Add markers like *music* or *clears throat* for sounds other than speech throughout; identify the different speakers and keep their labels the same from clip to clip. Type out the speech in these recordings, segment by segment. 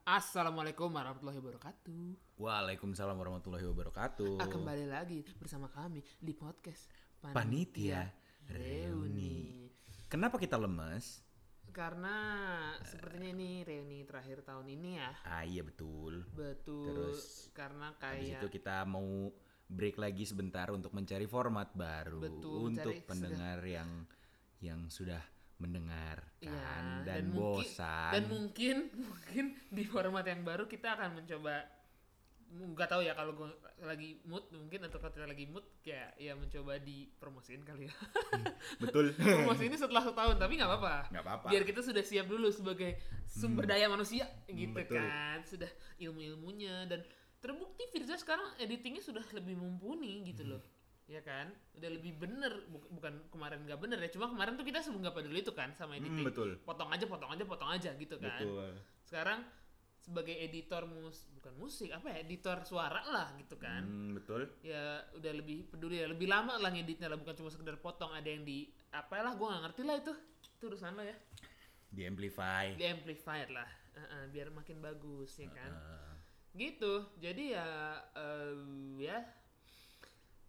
Speaker 1: Assalamualaikum warahmatullahi wabarakatuh.
Speaker 2: Waalaikumsalam warahmatullahi wabarakatuh.
Speaker 1: Ah, kembali lagi bersama kami di podcast
Speaker 2: Panitia Reuni. Kenapa kita lemes?
Speaker 1: Karena sepertinya ini reuni terakhir tahun ini ya.
Speaker 2: Ah iya betul.
Speaker 1: Betul.
Speaker 2: Terus,
Speaker 1: karena
Speaker 2: Habis
Speaker 1: kayak
Speaker 2: itu kita mau break lagi sebentar untuk mencari format baru
Speaker 1: Betul,
Speaker 2: untuk
Speaker 1: mencari-
Speaker 2: pendengar yang yang sudah mendengarkan
Speaker 1: Iya,
Speaker 2: kan dan,
Speaker 1: mungkin-
Speaker 2: bosan.
Speaker 1: Dan mungkin *laughs* mungkin di format yang baru kita akan mencoba nggak tahu ya kalau gue lagi mood mungkin atau kalau tidak lagi mood kayak ya mencoba dipromosiin kali ya *laughs*
Speaker 2: betul. *laughs*
Speaker 1: promosi ini setelah setahun tapi nggak apa-apa
Speaker 2: Nggak apa-apa. Hmm.
Speaker 1: biar kita sudah siap dulu sebagai sumber daya manusia gitu
Speaker 2: betul.
Speaker 1: kan sudah ilmu-ilmunya dan terbukti Firza sekarang editingnya sudah lebih mumpuni gitu
Speaker 2: Hmm.
Speaker 1: loh ya kan udah lebih bener Buk- bukan kemarin nggak bener ya cuma kemarin tuh kita sebelum nggak peduli itu kan sama editing
Speaker 2: Hmm, betul.
Speaker 1: potong aja potong aja potong aja gitu kan
Speaker 2: Betul.
Speaker 1: sekarang sebagai editor mus bukan musik apa ya editor suara lah gitu kan
Speaker 2: Hmm, betul.
Speaker 1: ya udah lebih peduli ya lebih lama lah ngeditnya lah bukan cuma sekedar potong ada yang di apalah gue nggak ngerti lah itu itu urusan lo ya
Speaker 2: Di amplify.
Speaker 1: di amplifier lah Heeh, biar makin bagus ya kan
Speaker 2: Ah,
Speaker 1: gitu jadi ya eh, ya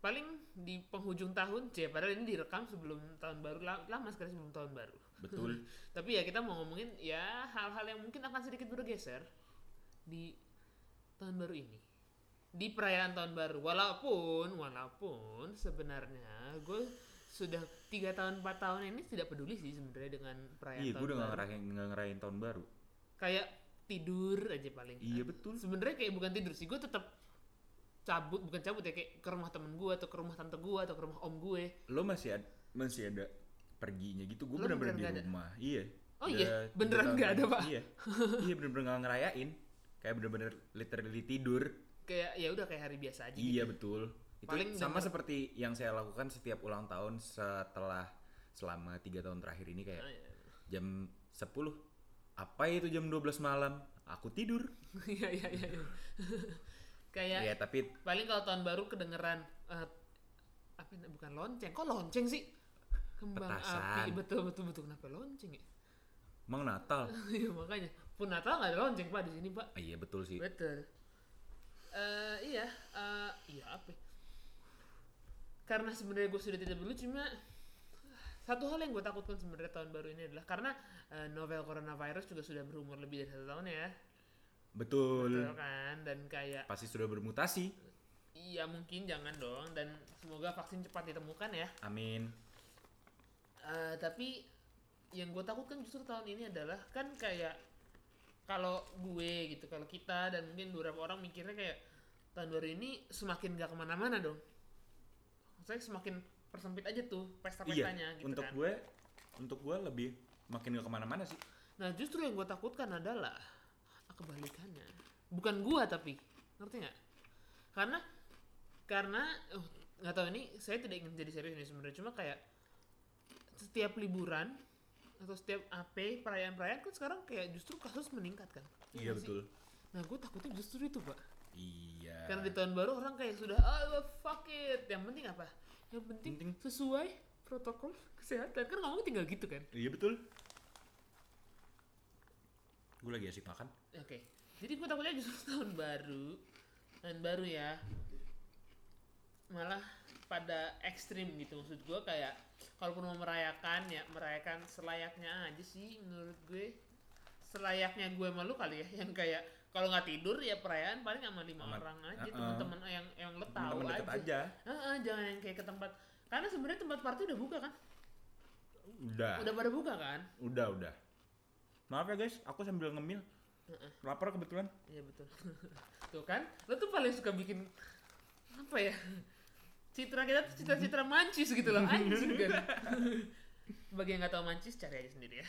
Speaker 1: paling di penghujung tahun c padahal ini direkam sebelum tahun baru la- lama sekali sebelum tahun baru
Speaker 2: Betul.
Speaker 1: tapi ya kita mau ngomongin ya hal-hal yang mungkin akan sedikit bergeser di tahun baru ini di perayaan tahun baru walaupun walaupun sebenarnya gue sudah tiga tahun empat tahun ini tidak peduli sih sebenarnya dengan perayaan
Speaker 2: Iya, gue
Speaker 1: tahun
Speaker 2: udah nggak
Speaker 1: baru
Speaker 2: ngerayain, nggak ngerayain tahun baru.
Speaker 1: kayak tidur aja paling
Speaker 2: Iya, betul.
Speaker 1: sebenarnya kayak bukan tidur sih gue tetap cabut bukan cabut ya kayak ke rumah temen gue atau ke rumah tante gue atau ke rumah om gue
Speaker 2: Lo masih ada, masih ada perginya gitu. Gue
Speaker 1: Lo
Speaker 2: bener-bener
Speaker 1: beneran
Speaker 2: di
Speaker 1: nggak ada?
Speaker 2: rumah. Iya.
Speaker 1: Oh
Speaker 2: Udah
Speaker 1: iya,
Speaker 2: tiga
Speaker 1: beneran
Speaker 2: tahun.
Speaker 1: nggak ada, Pak? *laughs*
Speaker 2: Iya. iya bener-bener nggak ngerayain. Kayak bener-bener literally tidur.
Speaker 1: kayak ya udah kayak hari biasa aja
Speaker 2: Iya betul. Itu
Speaker 1: Paling
Speaker 2: sama seperti yang saya lakukan setiap ulang tahun setelah selama tiga tahun terakhir ini kayak jam 10 apa itu jam 12 malam aku tidur
Speaker 1: *laughs* iya iya iya iya. *laughs* kayak
Speaker 2: Iya tapi
Speaker 1: paling kalau tahun baru kedengeran eh, apa ini? bukan lonceng kok lonceng sih kembang
Speaker 2: Petasan.
Speaker 1: api betul betul betul kenapa lonceng ya *laughs*
Speaker 2: emang Natal
Speaker 1: iya makanya pun Natal nggak ada lonceng pak di sini pak
Speaker 2: Ah, iya betul sih
Speaker 1: betul Eh iya eh, iya apa ya? karena sebenarnya gue sudah tidak dulu cuma satu hal yang gue takutkan sebenarnya tahun baru ini adalah karena eh, novel coronavirus juga sudah berumur lebih dari satu tahun ya
Speaker 2: betul
Speaker 1: betul kan dan kayak
Speaker 2: pasti sudah bermutasi
Speaker 1: Iya mungkin jangan dong dan semoga vaksin cepat ditemukan ya.
Speaker 2: amin
Speaker 1: Eh, tapi yang gue takutkan justru tahun ini adalah kan kayak kalau gue gitu, kalau kita dan mungkin beberapa orang mikirnya kayak tahun baru ini semakin gak kemana-mana dong. Saya semakin persempit aja tuh pesta-pestanya gitu
Speaker 2: Iya, untuk
Speaker 1: kan.
Speaker 2: gue untuk gue lebih makin gak kemana-mana sih
Speaker 1: Nah justru yang gue takutkan adalah ah, kebalikannya. Bukan gua tapi ngerti nggak? Karena karena oh, nggak tahu ini saya tidak ingin jadi serius ini sebenarnya cuma kayak setiap liburan atau setiap AP perayaan-perayaan kan sekarang kayak justru kasus meningkat kan?
Speaker 2: iya
Speaker 1: nggak sih?
Speaker 2: betul
Speaker 1: Nah gue takutnya justru itu pak.
Speaker 2: iya
Speaker 1: Karena di tahun baru orang kayak sudah ah fuck it. Yang penting apa? Yang penting,
Speaker 2: Penting.
Speaker 1: sesuai protokol kesehatan kan ngomong tinggal gitu kan?
Speaker 2: iya betul gue lagi asik makan
Speaker 1: Oke. Jadi gue takutnya justru *laughs* tahun baru, tahun baru ya, malah pada ekstrim gitu maksud gue kayak kalaupun mau merayakan ya merayakan selayaknya aja sih menurut gue selayaknya gue malu kali ya *laughs* yang kayak kalau nggak tidur ya perayaan paling sama lima
Speaker 2: Sama-
Speaker 1: orang aja
Speaker 2: Heeh.
Speaker 1: teman-teman eh, yang yang lo tahu
Speaker 2: Temen-temen deket
Speaker 1: aja,
Speaker 2: aja.
Speaker 1: Heeh, jangan yang kayak ke tempat karena sebenarnya tempat party udah buka kan
Speaker 2: udah
Speaker 1: udah pada buka kan
Speaker 2: udah udah maaf ya guys aku sambil ngemil lapar kebetulan
Speaker 1: Iya betul. *laughs* tuh kan, lo tuh paling suka bikin apa ya? Citra kita tuh citra-citra mancis gitu loh, anjing kan. Bagi yang nggak tahu mancis, cari aja sendiri ya.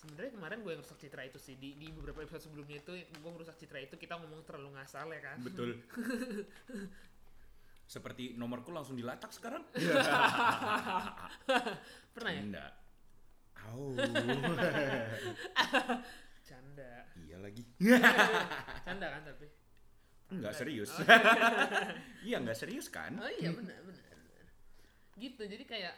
Speaker 1: Sebenarnya kemarin gue yang rusak citra itu sih di, di beberapa episode sebelumnya itu gue merusak citra itu kita ngomong terlalu ngasal ya kan.
Speaker 2: betul seperti nomorku langsung dilatak sekarang
Speaker 1: *laughs* Pernah ya?
Speaker 2: enggak
Speaker 1: *laughs*
Speaker 2: Au,
Speaker 1: Canda.
Speaker 2: iya lagi.
Speaker 1: Canda *laughs* kan tapi.
Speaker 2: Enggak serius. *laughs* Iya, enggak serius kan?
Speaker 1: Oh iya benar benar. benar. Gitu jadi kayak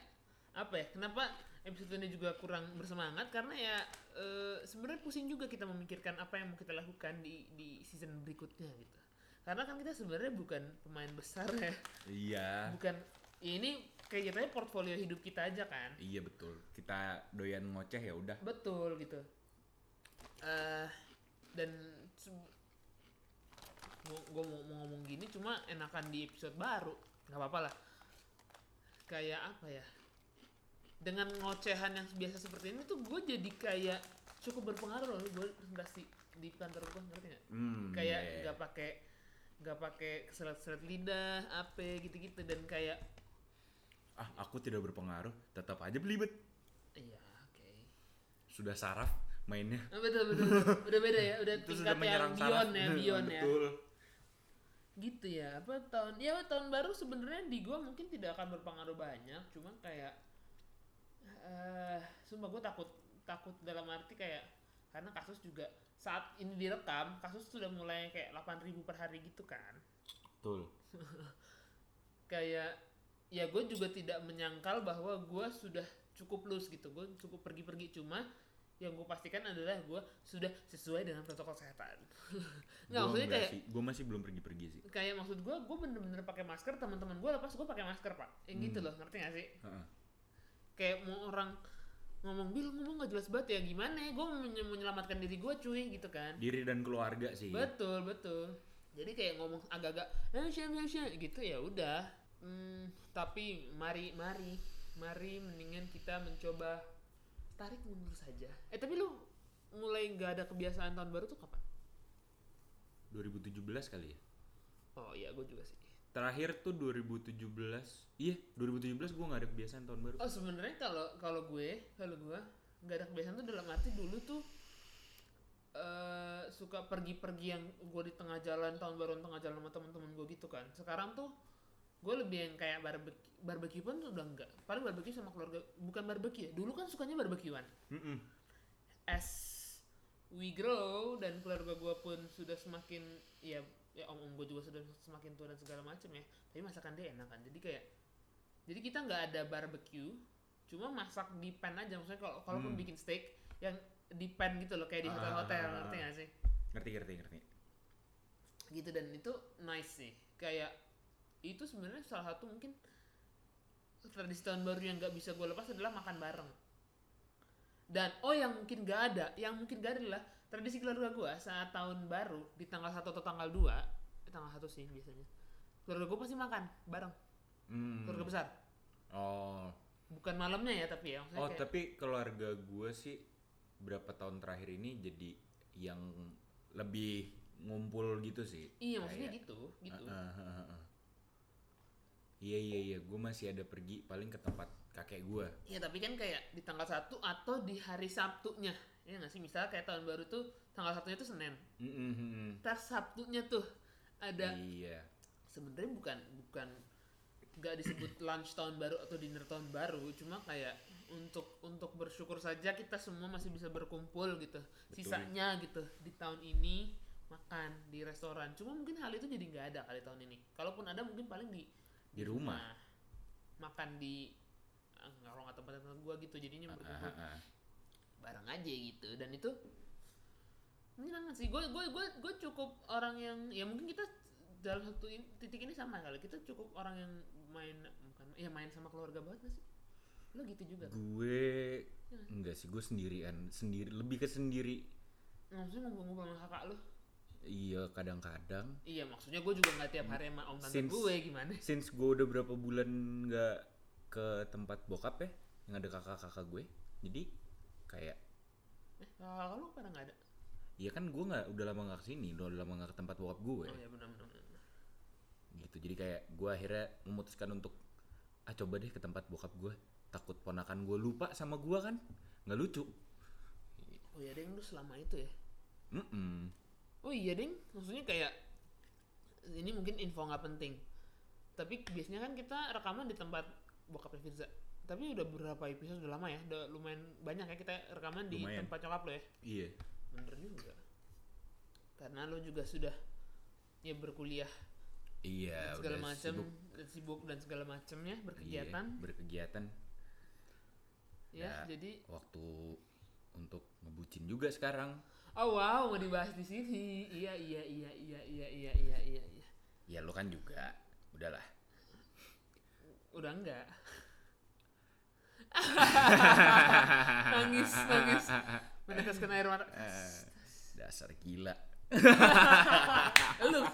Speaker 1: apa ya? Kenapa episode ini juga kurang bersemangat karena ya eh, sebenarnya pusing juga kita memikirkan apa yang mau kita lakukan di di season berikutnya gitu. Karena kan kita sebenarnya bukan pemain besar ya,
Speaker 2: Iya.
Speaker 1: bukan ya ini kayak jatuhnya portfolio hidup kita aja kan.
Speaker 2: Iya betul. Kita doyan ngoceh ya udah.
Speaker 1: Betul gitu. eh dan gue mau, mau ngomong gini cuma enakan di episode baru nggak apa-apa lah. Kayak apa ya? Dengan ngocehan yang biasa seperti ini tuh gue jadi kayak cukup berpengaruh loh gue presentasi di kantor gue ngerti nggak?
Speaker 2: Hmm,
Speaker 1: kayak
Speaker 2: iya, iya.
Speaker 1: nggak pakai nggak pakai serat-serat lidah apa gitu-gitu dan kayak
Speaker 2: ah aku tidak berpengaruh, tetap aja belibet.
Speaker 1: iya oke
Speaker 2: Sudah saraf mainnya.
Speaker 1: Ah, betul betul betul. udah beda ya udah
Speaker 2: Itu
Speaker 1: tingkat
Speaker 2: sudah menyerang
Speaker 1: yang beyond ya beyond ya
Speaker 2: Betul.
Speaker 1: gitu ya apa tahun ya tahun baru sebenarnya di gua mungkin tidak akan berpengaruh banyak cuman kayak eh sumpah gue takut takut dalam arti kayak karena kasus juga saat ini direkam kasus sudah mulai kayak 8000 per hari gitu kan
Speaker 2: Betul.
Speaker 1: kayak ya gue juga tidak menyangkal bahwa gue sudah cukup loose gitu gue cukup pergi-pergi cuma yang gue pastikan adalah gue sudah sesuai dengan protokol kesehatan *laughs* nggak maksudnya kayak
Speaker 2: gue masih belum pergi-pergi sih.
Speaker 1: kayak maksud gue gue bener-bener pakai masker teman-teman gue lepas gue pakai masker pak yang gitu loh ngerti gak sih
Speaker 2: Heeh.
Speaker 1: kayak mau orang ngomong bil ngomong gak jelas banget ya gimana ya gue menyelamatkan diri gue cuy gitu kan
Speaker 2: Diri dan keluarga sih.
Speaker 1: betul betul jadi kayak ngomong agak-agak eh sya, sya, sya," gitu ya udah Hmm, tapi mari mari mari mendingan kita mencoba tarik mundur saja eh tapi lu mulai nggak ada kebiasaan tahun baru tuh kapan
Speaker 2: 2017 kali ya.
Speaker 1: oh iya gue juga sih
Speaker 2: Terakhir tuh 2017. Iya, 2017 gue nggak ada kebiasaan tahun baru.
Speaker 1: Oh sebenarnya kalau kalau gue kalau gue nggak ada kebiasaan tuh dalam arti dulu tuh eh suka pergi-pergi yang gue di tengah jalan tahun baru tengah jalan sama teman-teman gue gitu kan. Sekarang tuh gue lebih yang kayak barbeque barbeque pun tuh udah enggak. Paling barbeque sama keluarga bukan barbeque ya. Dulu kan sukanya barbekyuan.
Speaker 2: Mm-mm.
Speaker 1: As we grow dan keluarga gue pun sudah semakin ya ya om om gue juga sudah semakin tua dan segala macam ya tapi masakan dia enak kan jadi kayak jadi kita nggak ada barbecue cuma masak di pan aja maksudnya kalau kalaupun
Speaker 2: Hmm.
Speaker 1: bikin steak yang di pan gitu loh kayak di
Speaker 2: Ah,
Speaker 1: hotel hotel
Speaker 2: ah, ah,
Speaker 1: ngerti
Speaker 2: ah.
Speaker 1: gak sih
Speaker 2: Ngerti, ngerti, ngerti.
Speaker 1: gitu dan itu nice sih kayak itu sebenarnya salah satu mungkin tradisi tahun baru yang nggak bisa gue lepas adalah makan bareng dan oh yang mungkin gak ada yang mungkin gak ada adalah tradisi keluarga gue saat tahun baru di tanggal 1 atau tanggal 2 tanggal 1 sih biasanya keluarga gue pasti makan bareng
Speaker 2: Hmm.
Speaker 1: keluarga besar
Speaker 2: Oh.
Speaker 1: bukan malamnya ya tapi ya maksudnya
Speaker 2: Oh,
Speaker 1: kayak-
Speaker 2: tapi keluarga gue sih berapa tahun terakhir ini jadi yang lebih ngumpul gitu sih.
Speaker 1: iya maksudnya
Speaker 2: Kayak,
Speaker 1: gitu gitu
Speaker 2: "Ah, ah, ah, ah, ah." Iya iya iya, gue masih ada pergi paling ke tempat kakek gue.
Speaker 1: Iya tapi kan kayak di tanggal 1 atau di hari Sabtunya ya nggak sih misalnya kayak tahun baru tuh tanggal satunya tuh Senin ntar Sabtunya tuh ada
Speaker 2: Iya.
Speaker 1: sebenarnya bukan bukan nggak disebut lunch tahun baru atau dinner tahun baru cuma kayak untuk untuk bersyukur saja kita semua masih bisa berkumpul gitu sisanya gitu di tahun ini makan di restoran cuma mungkin hal itu jadi nggak ada kali tahun ini kalaupun ada mungkin paling di
Speaker 2: Di rumah.
Speaker 1: makan di ah, ngarong atau tempat tempat gua gitu jadinya
Speaker 2: Ah,
Speaker 1: berkumpul
Speaker 2: ah, ah.
Speaker 1: bareng aja gitu dan itu menyenangkan sih gue gue gue gue cukup orang yang ya mungkin kita dalam satu in- titik ini sama kali kita cukup orang yang main bukan ya main sama keluarga banget gak sih lo gitu juga kan?
Speaker 2: Gue
Speaker 1: Iya.
Speaker 2: enggak sih, gue sendirian, sendiri lebih ke sendiri.
Speaker 1: maksudnya ngumpul-ngumpul sama kakak lo
Speaker 2: Iya kadang-kadang.
Speaker 1: iya maksudnya gue juga nggak tiap hari sama om tante
Speaker 2: Since-
Speaker 1: gue gimana
Speaker 2: Since gue udah berapa bulan nggak ke tempat bokap ya, yang ada kakak-kakak gue, jadi kayak
Speaker 1: eh kakak lo pada nggak ada
Speaker 2: Iya kan gue nggak udah lama nggak kesini, udah lama nggak ke tempat bokap gue,
Speaker 1: oh ya benar benar benar.
Speaker 2: gitu. Jadi kayak gue akhirnya memutuskan untuk ah coba deh ke tempat bokap gue, takut ponakan gue lupa sama gue kan, nggak lucu.
Speaker 1: oh ya deng lu selama itu ya
Speaker 2: Mm-mm.
Speaker 1: Oh iya ding, maksudnya kayak ini mungkin info nggak penting. Tapi biasanya kan kita rekaman di tempat bokapnya Firza. Tapi udah berapa episode udah lama ya, udah lumayan banyak ya kita rekaman di
Speaker 2: Lumayan.
Speaker 1: tempat nyokap lo ya.
Speaker 2: Iya.
Speaker 1: Bener juga. Karena lo juga sudah ya berkuliah
Speaker 2: Iya.
Speaker 1: dan Kan segala
Speaker 2: udah
Speaker 1: macam
Speaker 2: sibuk.
Speaker 1: dan sibuk dan segala macamnya
Speaker 2: Iya,
Speaker 1: berkegiatan.
Speaker 2: berkegiatan.
Speaker 1: Ya,
Speaker 2: Ya.
Speaker 1: jadi
Speaker 2: waktu untuk ngebucin juga sekarang
Speaker 1: oh wow mau dibahas di sini. Iya iya iya iya iya iya iya iya. iya.
Speaker 2: ya lu kan juga udahlah
Speaker 1: Udah
Speaker 2: *laughs*
Speaker 1: enggak. nangis nangis meneteskan air mata.
Speaker 2: *laughs* Eh. dasar gila
Speaker 1: Lu.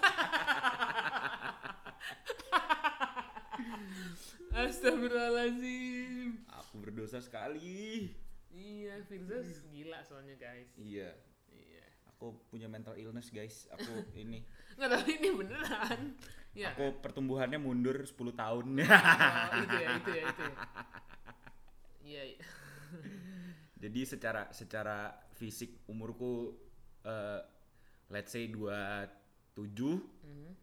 Speaker 1: Astagfirullahaladzim.
Speaker 2: aku berdosa sekali
Speaker 1: Iya, Firza gila soalnya guys.
Speaker 2: iya
Speaker 1: Iya.
Speaker 2: aku punya mental illness guys *laughs* aku ini
Speaker 1: Nggak tapi ini beneran. Ya.
Speaker 2: aku pertumbuhannya mundur 10 tahun *laughs*
Speaker 1: Oh, itu ya, itu ya, itu ya. Iya, iya.
Speaker 2: jadi secara secara fisik umurku eh, let's say 27
Speaker 1: Mhm.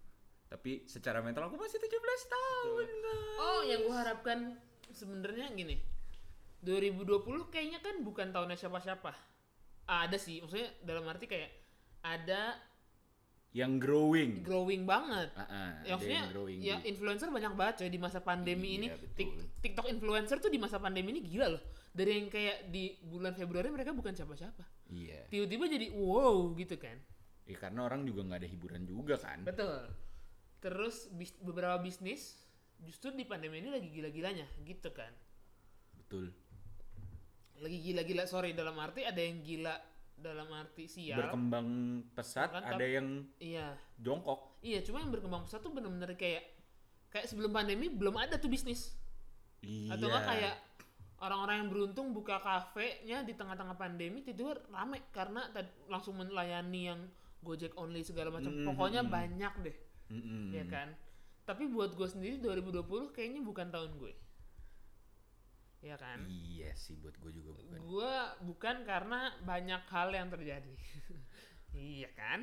Speaker 2: tapi secara mental aku masih 17 tahun guys.
Speaker 1: Oh, yang gue harapkan sebenarnya gini. 2020 kayaknya kan bukan tahunnya siapa-siapa. Ah, ada sih, maksudnya dalam arti kayak ada
Speaker 2: yang growing
Speaker 1: growing banget.
Speaker 2: Ah, ah, ada
Speaker 1: Ya, maksudnya
Speaker 2: yang growing
Speaker 1: ya
Speaker 2: gitu.
Speaker 1: influencer banyak banget coy di masa pandemi
Speaker 2: Iya,
Speaker 1: ini
Speaker 2: betul.
Speaker 1: Tik- TikTok influencer tuh di masa pandemi ini gila loh dari yang kayak di bulan Februari mereka bukan siapa-siapa
Speaker 2: iya
Speaker 1: tiba-tiba jadi wow gitu kan
Speaker 2: Ya, karena orang juga nggak ada hiburan juga kan
Speaker 1: betul terus bis- beberapa bisnis justru di pandemi ini lagi gila-gilanya gitu kan
Speaker 2: betul
Speaker 1: lagi gila-gila sorry dalam arti ada yang gila dalam arti sial
Speaker 2: berkembang pesat
Speaker 1: Kan,
Speaker 2: ada yang
Speaker 1: iya
Speaker 2: jongkok
Speaker 1: iya cuma yang berkembang pesat tuh bener-bener kayak kayak sebelum pandemi belum ada tuh bisnis
Speaker 2: iya
Speaker 1: atau nggak kayak orang-orang yang beruntung buka kafenya di tengah-tengah pandemi tidur rame karena tad- langsung melayani yang gojek only segala macam
Speaker 2: Mm,
Speaker 1: pokoknya
Speaker 2: mm, mm.
Speaker 1: banyak deh
Speaker 2: Mm-mm.
Speaker 1: ya kan tapi buat gue sendiri 2020 kayaknya bukan tahun gue ya kan
Speaker 2: iya sih buat gue juga bukan oke
Speaker 1: gue bukan karena banyak hal yang terjadi *laughs* iya kan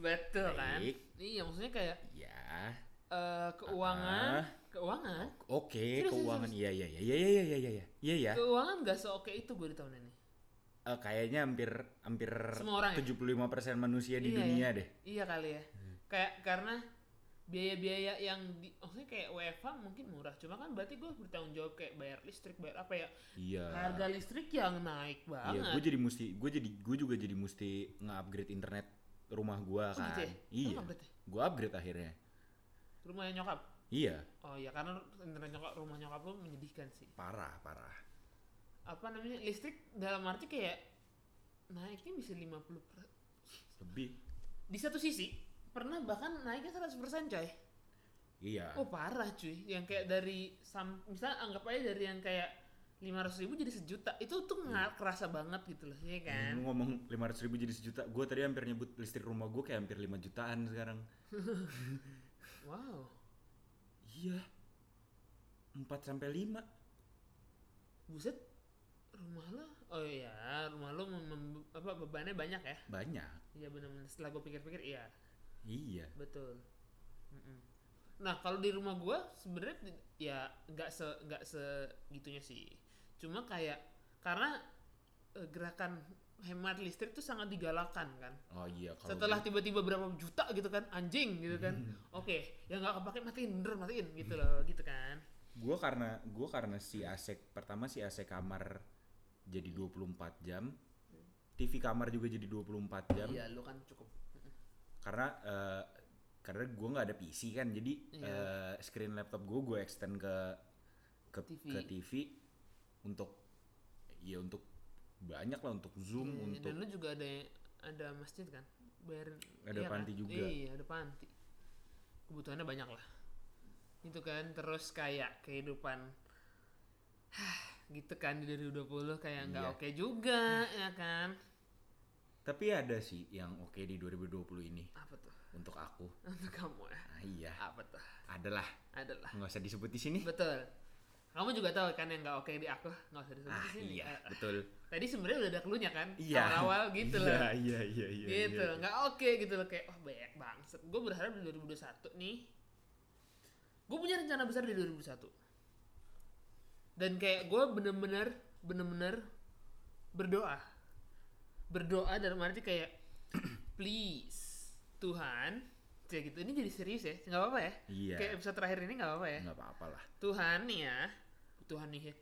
Speaker 1: betul kan
Speaker 2: Baik.
Speaker 1: iya maksudnya kayak
Speaker 2: ya
Speaker 1: eh, keuangan
Speaker 2: Ah.
Speaker 1: keuangan
Speaker 2: oke
Speaker 1: Serius,
Speaker 2: keuangan
Speaker 1: serius.
Speaker 2: iya iya iya iya iya iya iya iya iya ya
Speaker 1: keuangan gak seoke itu gue di tahun ini
Speaker 2: Eh, kayaknya hampir hampir
Speaker 1: Semua orang ya?
Speaker 2: 75% manusia di
Speaker 1: Iya,
Speaker 2: dunia
Speaker 1: ya.
Speaker 2: deh
Speaker 1: Iya kali ya.
Speaker 2: Hmm.
Speaker 1: Kayak karena biaya-biaya yang di maksudnya kayak WFH mungkin murah, cuma kan berarti gue bertanggung jawab kayak bayar listrik, bayar apa ya?
Speaker 2: iya
Speaker 1: Harga listrik yang
Speaker 2: iya
Speaker 1: naik
Speaker 2: gue
Speaker 1: banget. Oh gitu ya?
Speaker 2: jadi mesti gue jadi gue juga jadi mesti nge-upgrade internet rumah gue
Speaker 1: Oh,
Speaker 2: kan
Speaker 1: gitu ya? Lu
Speaker 2: iya
Speaker 1: upgrade ya?
Speaker 2: gue upgrade akhirnya
Speaker 1: Rumahnya nyokap.
Speaker 2: iya
Speaker 1: Oh iya, karena internet nyokap rumah nyokap lu menyedihkan sih.
Speaker 2: parah parah
Speaker 1: Apa namanya? Listrik dalam arti kayak naiknya bisa 50 per-
Speaker 2: lebih
Speaker 1: Di satu sisi pernah bahkan naiknya 100% coy.
Speaker 2: iya
Speaker 1: Oh parah cuy, yang kayak dari sam, misal anggap aja dari yang kayak lima ribu jadi sejuta, itu tuh nggak kerasa banget gitu loh, ya kan?
Speaker 2: Lu ngomong 500 ribu jadi sejuta, gue tadi hampir nyebut listrik rumah gue kayak hampir 5 jutaan sekarang.
Speaker 1: Wow,
Speaker 2: Iya. 4 sampai 5.
Speaker 1: buset, rumah lo, oh iya, rumah lo mem- mem- apa bebannya banyak ya?
Speaker 2: Banyak.
Speaker 1: Iya benar-benar setelah gue pikir-pikir, iya
Speaker 2: Iya.
Speaker 1: betul. Mm-mm. Nah kalau di rumah gue sebenarnya di- ya nggak se nggak segitunya sih, cuma kayak karena eh, gerakan hemat listrik tuh sangat digalakan kan.
Speaker 2: Oh iya kalau Hmm.
Speaker 1: setelah tiba-tiba berapa juta gitu kan anjing gitu kan oke yang nggak kepake matiin bener matiin gitu loh gitu kan
Speaker 2: gue karena gue karena si AC pertama si AC kamar jadi 24 jam. TV kamar juga jadi 24 jam
Speaker 1: iya lu kan cukup
Speaker 2: karena eh, karena gue nggak ada PC kan. Jadi
Speaker 1: Iya.
Speaker 2: eh, screen laptop gue gue extend ke ke
Speaker 1: TV.
Speaker 2: ke TV untuk ya untuk banyak lah untuk zoom
Speaker 1: Iya,
Speaker 2: untuk
Speaker 1: dan lu juga ada ada masjid kan bayarin
Speaker 2: Ada
Speaker 1: iya kan?
Speaker 2: panti juga.
Speaker 1: iya ada panti kebutuhannya banyak lah gitu kan terus kayak kehidupan gitu kan di 2020 kayak nggak
Speaker 2: Iya.
Speaker 1: oke juga ya kan
Speaker 2: Tapi ada sih yang oke di 2020 ini
Speaker 1: apa tuh *laughs*
Speaker 2: untuk aku.
Speaker 1: untuk kamu ya
Speaker 2: Ah, iya,
Speaker 1: apa tuh
Speaker 2: adalah
Speaker 1: adalah
Speaker 2: nggak usah disebut di sini.
Speaker 1: betul kamu juga tahu kan yang nggak oke di aku nggak usah disebut
Speaker 2: Ah
Speaker 1: di sini
Speaker 2: iya,
Speaker 1: Eh,
Speaker 2: betul.
Speaker 1: tadi sebenarnya udah ada cluenya kan
Speaker 2: Iya.
Speaker 1: awal-awal gitu
Speaker 2: iya,
Speaker 1: loh
Speaker 2: Iya, iya, iya.
Speaker 1: gitu
Speaker 2: iya.
Speaker 1: nggak oke gitu loh kayak wah banyak banget gue berharap di 2021 nih gue punya rencana besar di 2021 dan kayak gue bener-bener bener-bener berdoa berdoa dalam arti kayak *clears throat* please Tuhan kayak gitu ini jadi serius ya nggak apa-apa ya
Speaker 2: Iya.
Speaker 1: kayak episode terakhir ini nggak apa-apa ya
Speaker 2: Nggak apa-apa lah.
Speaker 1: Tuhan nih ya Tuhan nih ya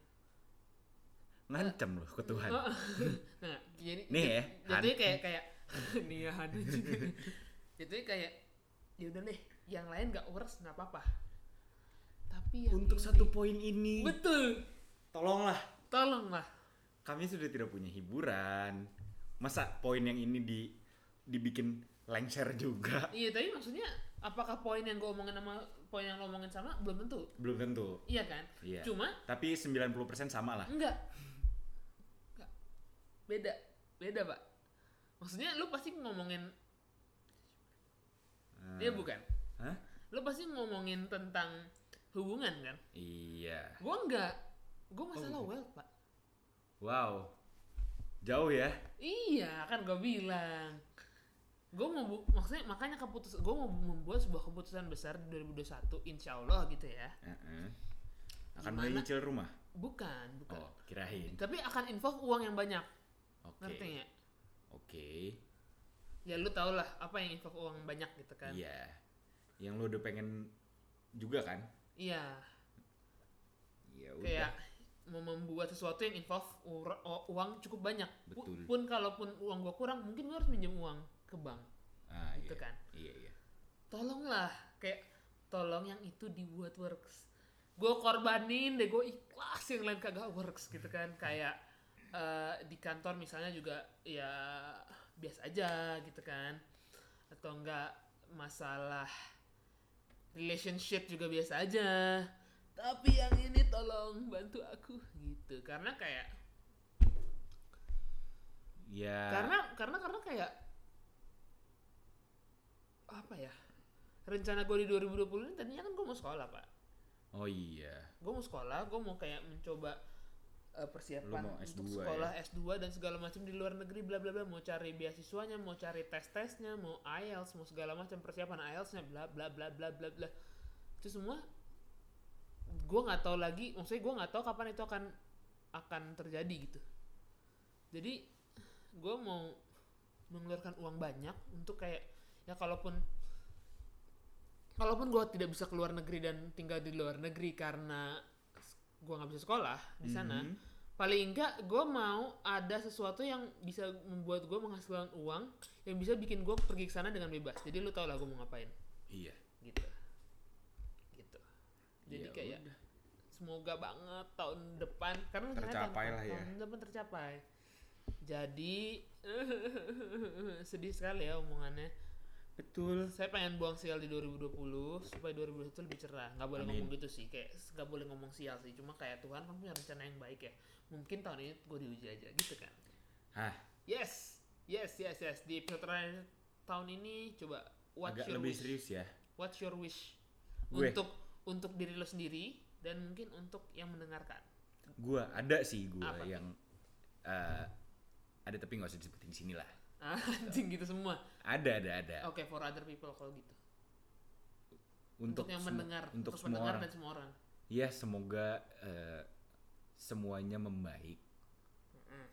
Speaker 2: ngancam loh ke Tuhan.
Speaker 1: Oh, *laughs* nah, jadi
Speaker 2: Nih ya, Han.
Speaker 1: jatuhnya kayak kayak *laughs* nih
Speaker 2: *laughs*
Speaker 1: ya Han. jatuhnya kayak ya udah deh, yang lain gak worth nggak apa-apa. Tapi yang
Speaker 2: Untuk
Speaker 1: ini-
Speaker 2: satu poin ini,
Speaker 1: betul,
Speaker 2: tolonglah.
Speaker 1: tolonglah.
Speaker 2: Kami sudah tidak punya hiburan. Masa poin yang ini di dibikin lengser juga?
Speaker 1: Iya, tapi maksudnya apakah poin yang gue omongin sama poin yang lo omongin sama belum tentu.
Speaker 2: Belum tentu.
Speaker 1: Iya kan?
Speaker 2: Iya.
Speaker 1: Cuma
Speaker 2: Tapi 90% sama lah.
Speaker 1: enggak. Enggak. Beda. Beda, Pak. Maksudnya lu pasti ngomongin
Speaker 2: Eh,
Speaker 1: Iya
Speaker 2: Nah.
Speaker 1: bukan.
Speaker 2: Hah?
Speaker 1: Lu pasti ngomongin tentang hubungan kan? Oh, gitu.
Speaker 2: Iya.
Speaker 1: Gua enggak. Gua masalah wealth, Pak.
Speaker 2: Wow. Jauh ya.
Speaker 1: Iya, kan gua bilang. Gua mau bu- maksudnya makanya keputus gua mau membuat sebuah keputusan besar di 2021 insya Allah gitu ya.
Speaker 2: Heeh. Akan
Speaker 1: Gimana?
Speaker 2: mulai nyicil rumah.
Speaker 1: Bukan, bukan.
Speaker 2: Oh, kirain.
Speaker 1: Tapi akan involve uang yang banyak.
Speaker 2: Oke.
Speaker 1: Ngerti nggak?
Speaker 2: Oke.
Speaker 1: Ya lu tau lah apa yang involve uang banyak gitu kan.
Speaker 2: Iya. Yang lu udah pengen juga kan?
Speaker 1: Iya,
Speaker 2: Ya
Speaker 1: kayak
Speaker 2: udah.
Speaker 1: mau membuat sesuatu yang involve ur- o- uang cukup banyak. Pu-
Speaker 2: Betul.
Speaker 1: Pun kalaupun uang gua kurang, mungkin gua harus minjem uang ke bank.
Speaker 2: Ah,
Speaker 1: gitu
Speaker 2: iya.
Speaker 1: kan.
Speaker 2: Iya, iya.
Speaker 1: Tolonglah, kayak tolong yang itu dibuat works. Gue korbanin deh, gue ikhlas yang lain kagak works gitu kan. Kayak eh, di kantor misalnya juga ya biasa aja gitu kan. Atau enggak masalah relationship juga biasa aja. Tapi yang ini tolong bantu aku gitu. Karena kayak
Speaker 2: Ya.
Speaker 1: karena karena karena kayak apa ya rencana gue di 2020 ini tadinya kan gue mau sekolah pak
Speaker 2: Oh iya.
Speaker 1: gue mau sekolah gue mau kayak mencoba eh,
Speaker 2: Lu
Speaker 1: persiapan
Speaker 2: mau ya?
Speaker 1: untuk
Speaker 2: S2
Speaker 1: sekolah S2 dan segala macam di luar negeri bla bla bla mau cari beasiswanya mau cari tes tesnya mau IELTS mau segala macam persiapan IELTSnya bla bla bla bla bla bla itu semua gue nggak tahu lagi maksudnya gue nggak tahu kapan itu akan akan terjadi gitu jadi gue mau mengeluarkan uang banyak untuk kayak ya kalaupun kalaupun gue tidak bisa keluar negeri dan tinggal di luar negeri karena gue nggak bisa sekolah di sana
Speaker 2: Mhm.
Speaker 1: paling enggak gue mau ada sesuatu yang bisa membuat gue menghasilkan uang yang bisa bikin gue pergi ke sana dengan bebas jadi lu tau lah gue mau ngapain
Speaker 2: Iya.
Speaker 1: gitu gitu jadi
Speaker 2: Ya
Speaker 1: kayak semoga banget tahun depan karena rencananya
Speaker 2: Tercapai
Speaker 1: tahun,
Speaker 2: lah ya.
Speaker 1: tahun depan tercapai jadi *laughs* sedih sekali ya omongannya
Speaker 2: Betul.
Speaker 1: saya pengen buang sial di 2020 supaya 2021 lebih cerah nggak boleh
Speaker 2: Amin.
Speaker 1: ngomong gitu sih kayak nggak boleh ngomong sial sih cuma kayak Tuhan kamu punya rencana yang baik ya mungkin tahun ini gue diuji aja gitu kan
Speaker 2: Hah,
Speaker 1: yes yes yes yes di episode terakhir tahun ini coba what's
Speaker 2: agak
Speaker 1: your
Speaker 2: lebih
Speaker 1: wish
Speaker 2: serius ya.
Speaker 1: what's your wish
Speaker 2: Gue.
Speaker 1: untuk untuk diri lo sendiri dan mungkin untuk yang mendengarkan *laughs*
Speaker 2: Gua ada sih gua
Speaker 1: Apa tuh?
Speaker 2: yang eh, ada tapi nggak usah disebutin di sini lah.
Speaker 1: Ah, anjing gitu semua
Speaker 2: Ada, ada, ada.
Speaker 1: oke for other people kalau gitu
Speaker 2: Untuk,
Speaker 1: yang
Speaker 2: semu-
Speaker 1: mendengar
Speaker 2: untuk, semua
Speaker 1: mendengar
Speaker 2: orang.
Speaker 1: dan semua orang
Speaker 2: Ya, semoga eh, semuanya membaik.
Speaker 1: Mm-mm.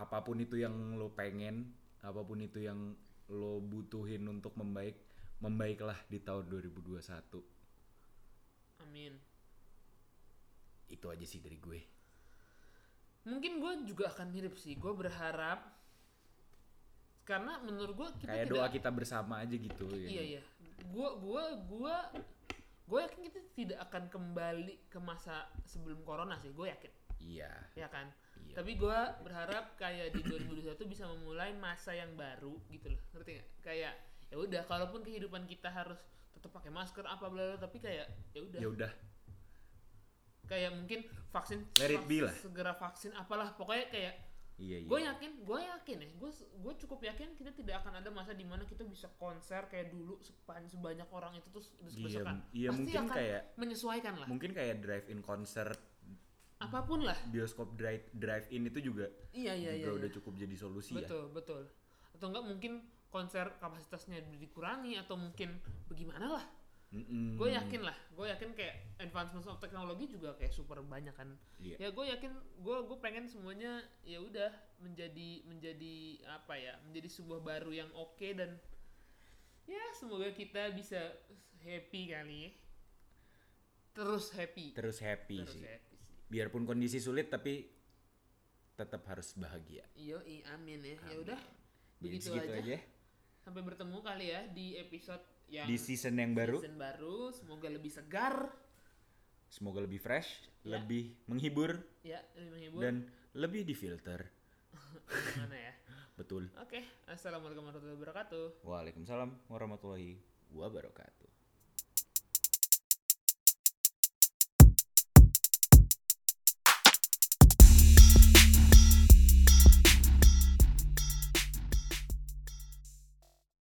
Speaker 2: Apapun itu yang lo pengen, apapun itu yang lo butuhin untuk membaik, membaiklah di tahun 2021.
Speaker 1: amin
Speaker 2: Itu aja sih dari gue.
Speaker 1: mungkin gue juga akan mirip sih gue berharap karena menurut gue kita
Speaker 2: Kayak
Speaker 1: tidak
Speaker 2: doa kita ya. bersama aja gitu ya.
Speaker 1: iya iya gue gue gue gue yakin kita tidak akan kembali ke masa sebelum corona sih gue yakin
Speaker 2: Iya.
Speaker 1: ya kan
Speaker 2: Iya.
Speaker 1: tapi gue berharap kayak di 2021 bisa memulai masa yang baru gitu loh ngerti nggak kayak ya udah kalaupun kehidupan kita harus tetap pakai masker apa bla bla, bla, tapi kayak ya udah
Speaker 2: Ya udah.
Speaker 1: kayak mungkin vaksin
Speaker 2: Let it be lah.
Speaker 1: segera vaksin apalah pokoknya kayak
Speaker 2: Iya, iya.
Speaker 1: gue yakin gue yakin ya gue gue cukup yakin kita tidak akan ada masa dimana kita bisa konser kayak dulu sepan sebanyak orang itu terus terus
Speaker 2: Iya,
Speaker 1: kerusakan.
Speaker 2: m- iya,
Speaker 1: Pasti
Speaker 2: mungkin
Speaker 1: akan
Speaker 2: kayak-
Speaker 1: menyesuaikan lah
Speaker 2: Mungkin kayak drive-in concert,
Speaker 1: apapun lah
Speaker 2: bioskop drive drive-in itu juga
Speaker 1: iya iya iya,
Speaker 2: juga
Speaker 1: iya.
Speaker 2: udah cukup jadi solusi ya.
Speaker 1: betul betul atau enggak mungkin konser kapasitasnya dikurangi atau mungkin bagaimana lah
Speaker 2: Mm-mm.
Speaker 1: gue yakin lah gue yakin kayak advancements of technology juga kayak super banyak kan
Speaker 2: Iya.
Speaker 1: ya gue yakin gue gue pengen semuanya ya udah menjadi menjadi apa ya menjadi sebuah baru yang oke dan ya semoga kita bisa happy kali terus happy
Speaker 2: Terus happy
Speaker 1: Terus ya.
Speaker 2: sih.
Speaker 1: happy sih
Speaker 2: Biarpun kondisi sulit tapi tetap harus bahagia.
Speaker 1: Yo, amin ya. Ya udah,
Speaker 2: Jadi
Speaker 1: begitu
Speaker 2: segitu aja.
Speaker 1: aja. Sampai bertemu kali ya di episode yang
Speaker 2: Di season yang baru,
Speaker 1: season baru. Semoga lebih segar,
Speaker 2: semoga lebih fresh,
Speaker 1: Ya.
Speaker 2: lebih menghibur
Speaker 1: ya lebih menghibur.
Speaker 2: dan lebih difilter.
Speaker 1: Gimana ya?
Speaker 2: Betul.
Speaker 1: Oke, assalamualaikum warahmatullahi wabarakatuh.
Speaker 2: Waalaikumsalam warahmatullahi wabarakatuh.